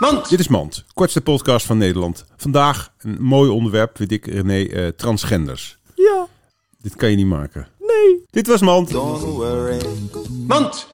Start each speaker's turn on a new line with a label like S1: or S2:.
S1: Mand!
S2: Dit is Mand, kortste podcast van Nederland. Vandaag een mooi onderwerp, vind ik, René, eh, transgenders.
S3: Ja,
S2: Dit kan je niet maken.
S3: nee.
S2: Dit was Mand.
S1: Mand!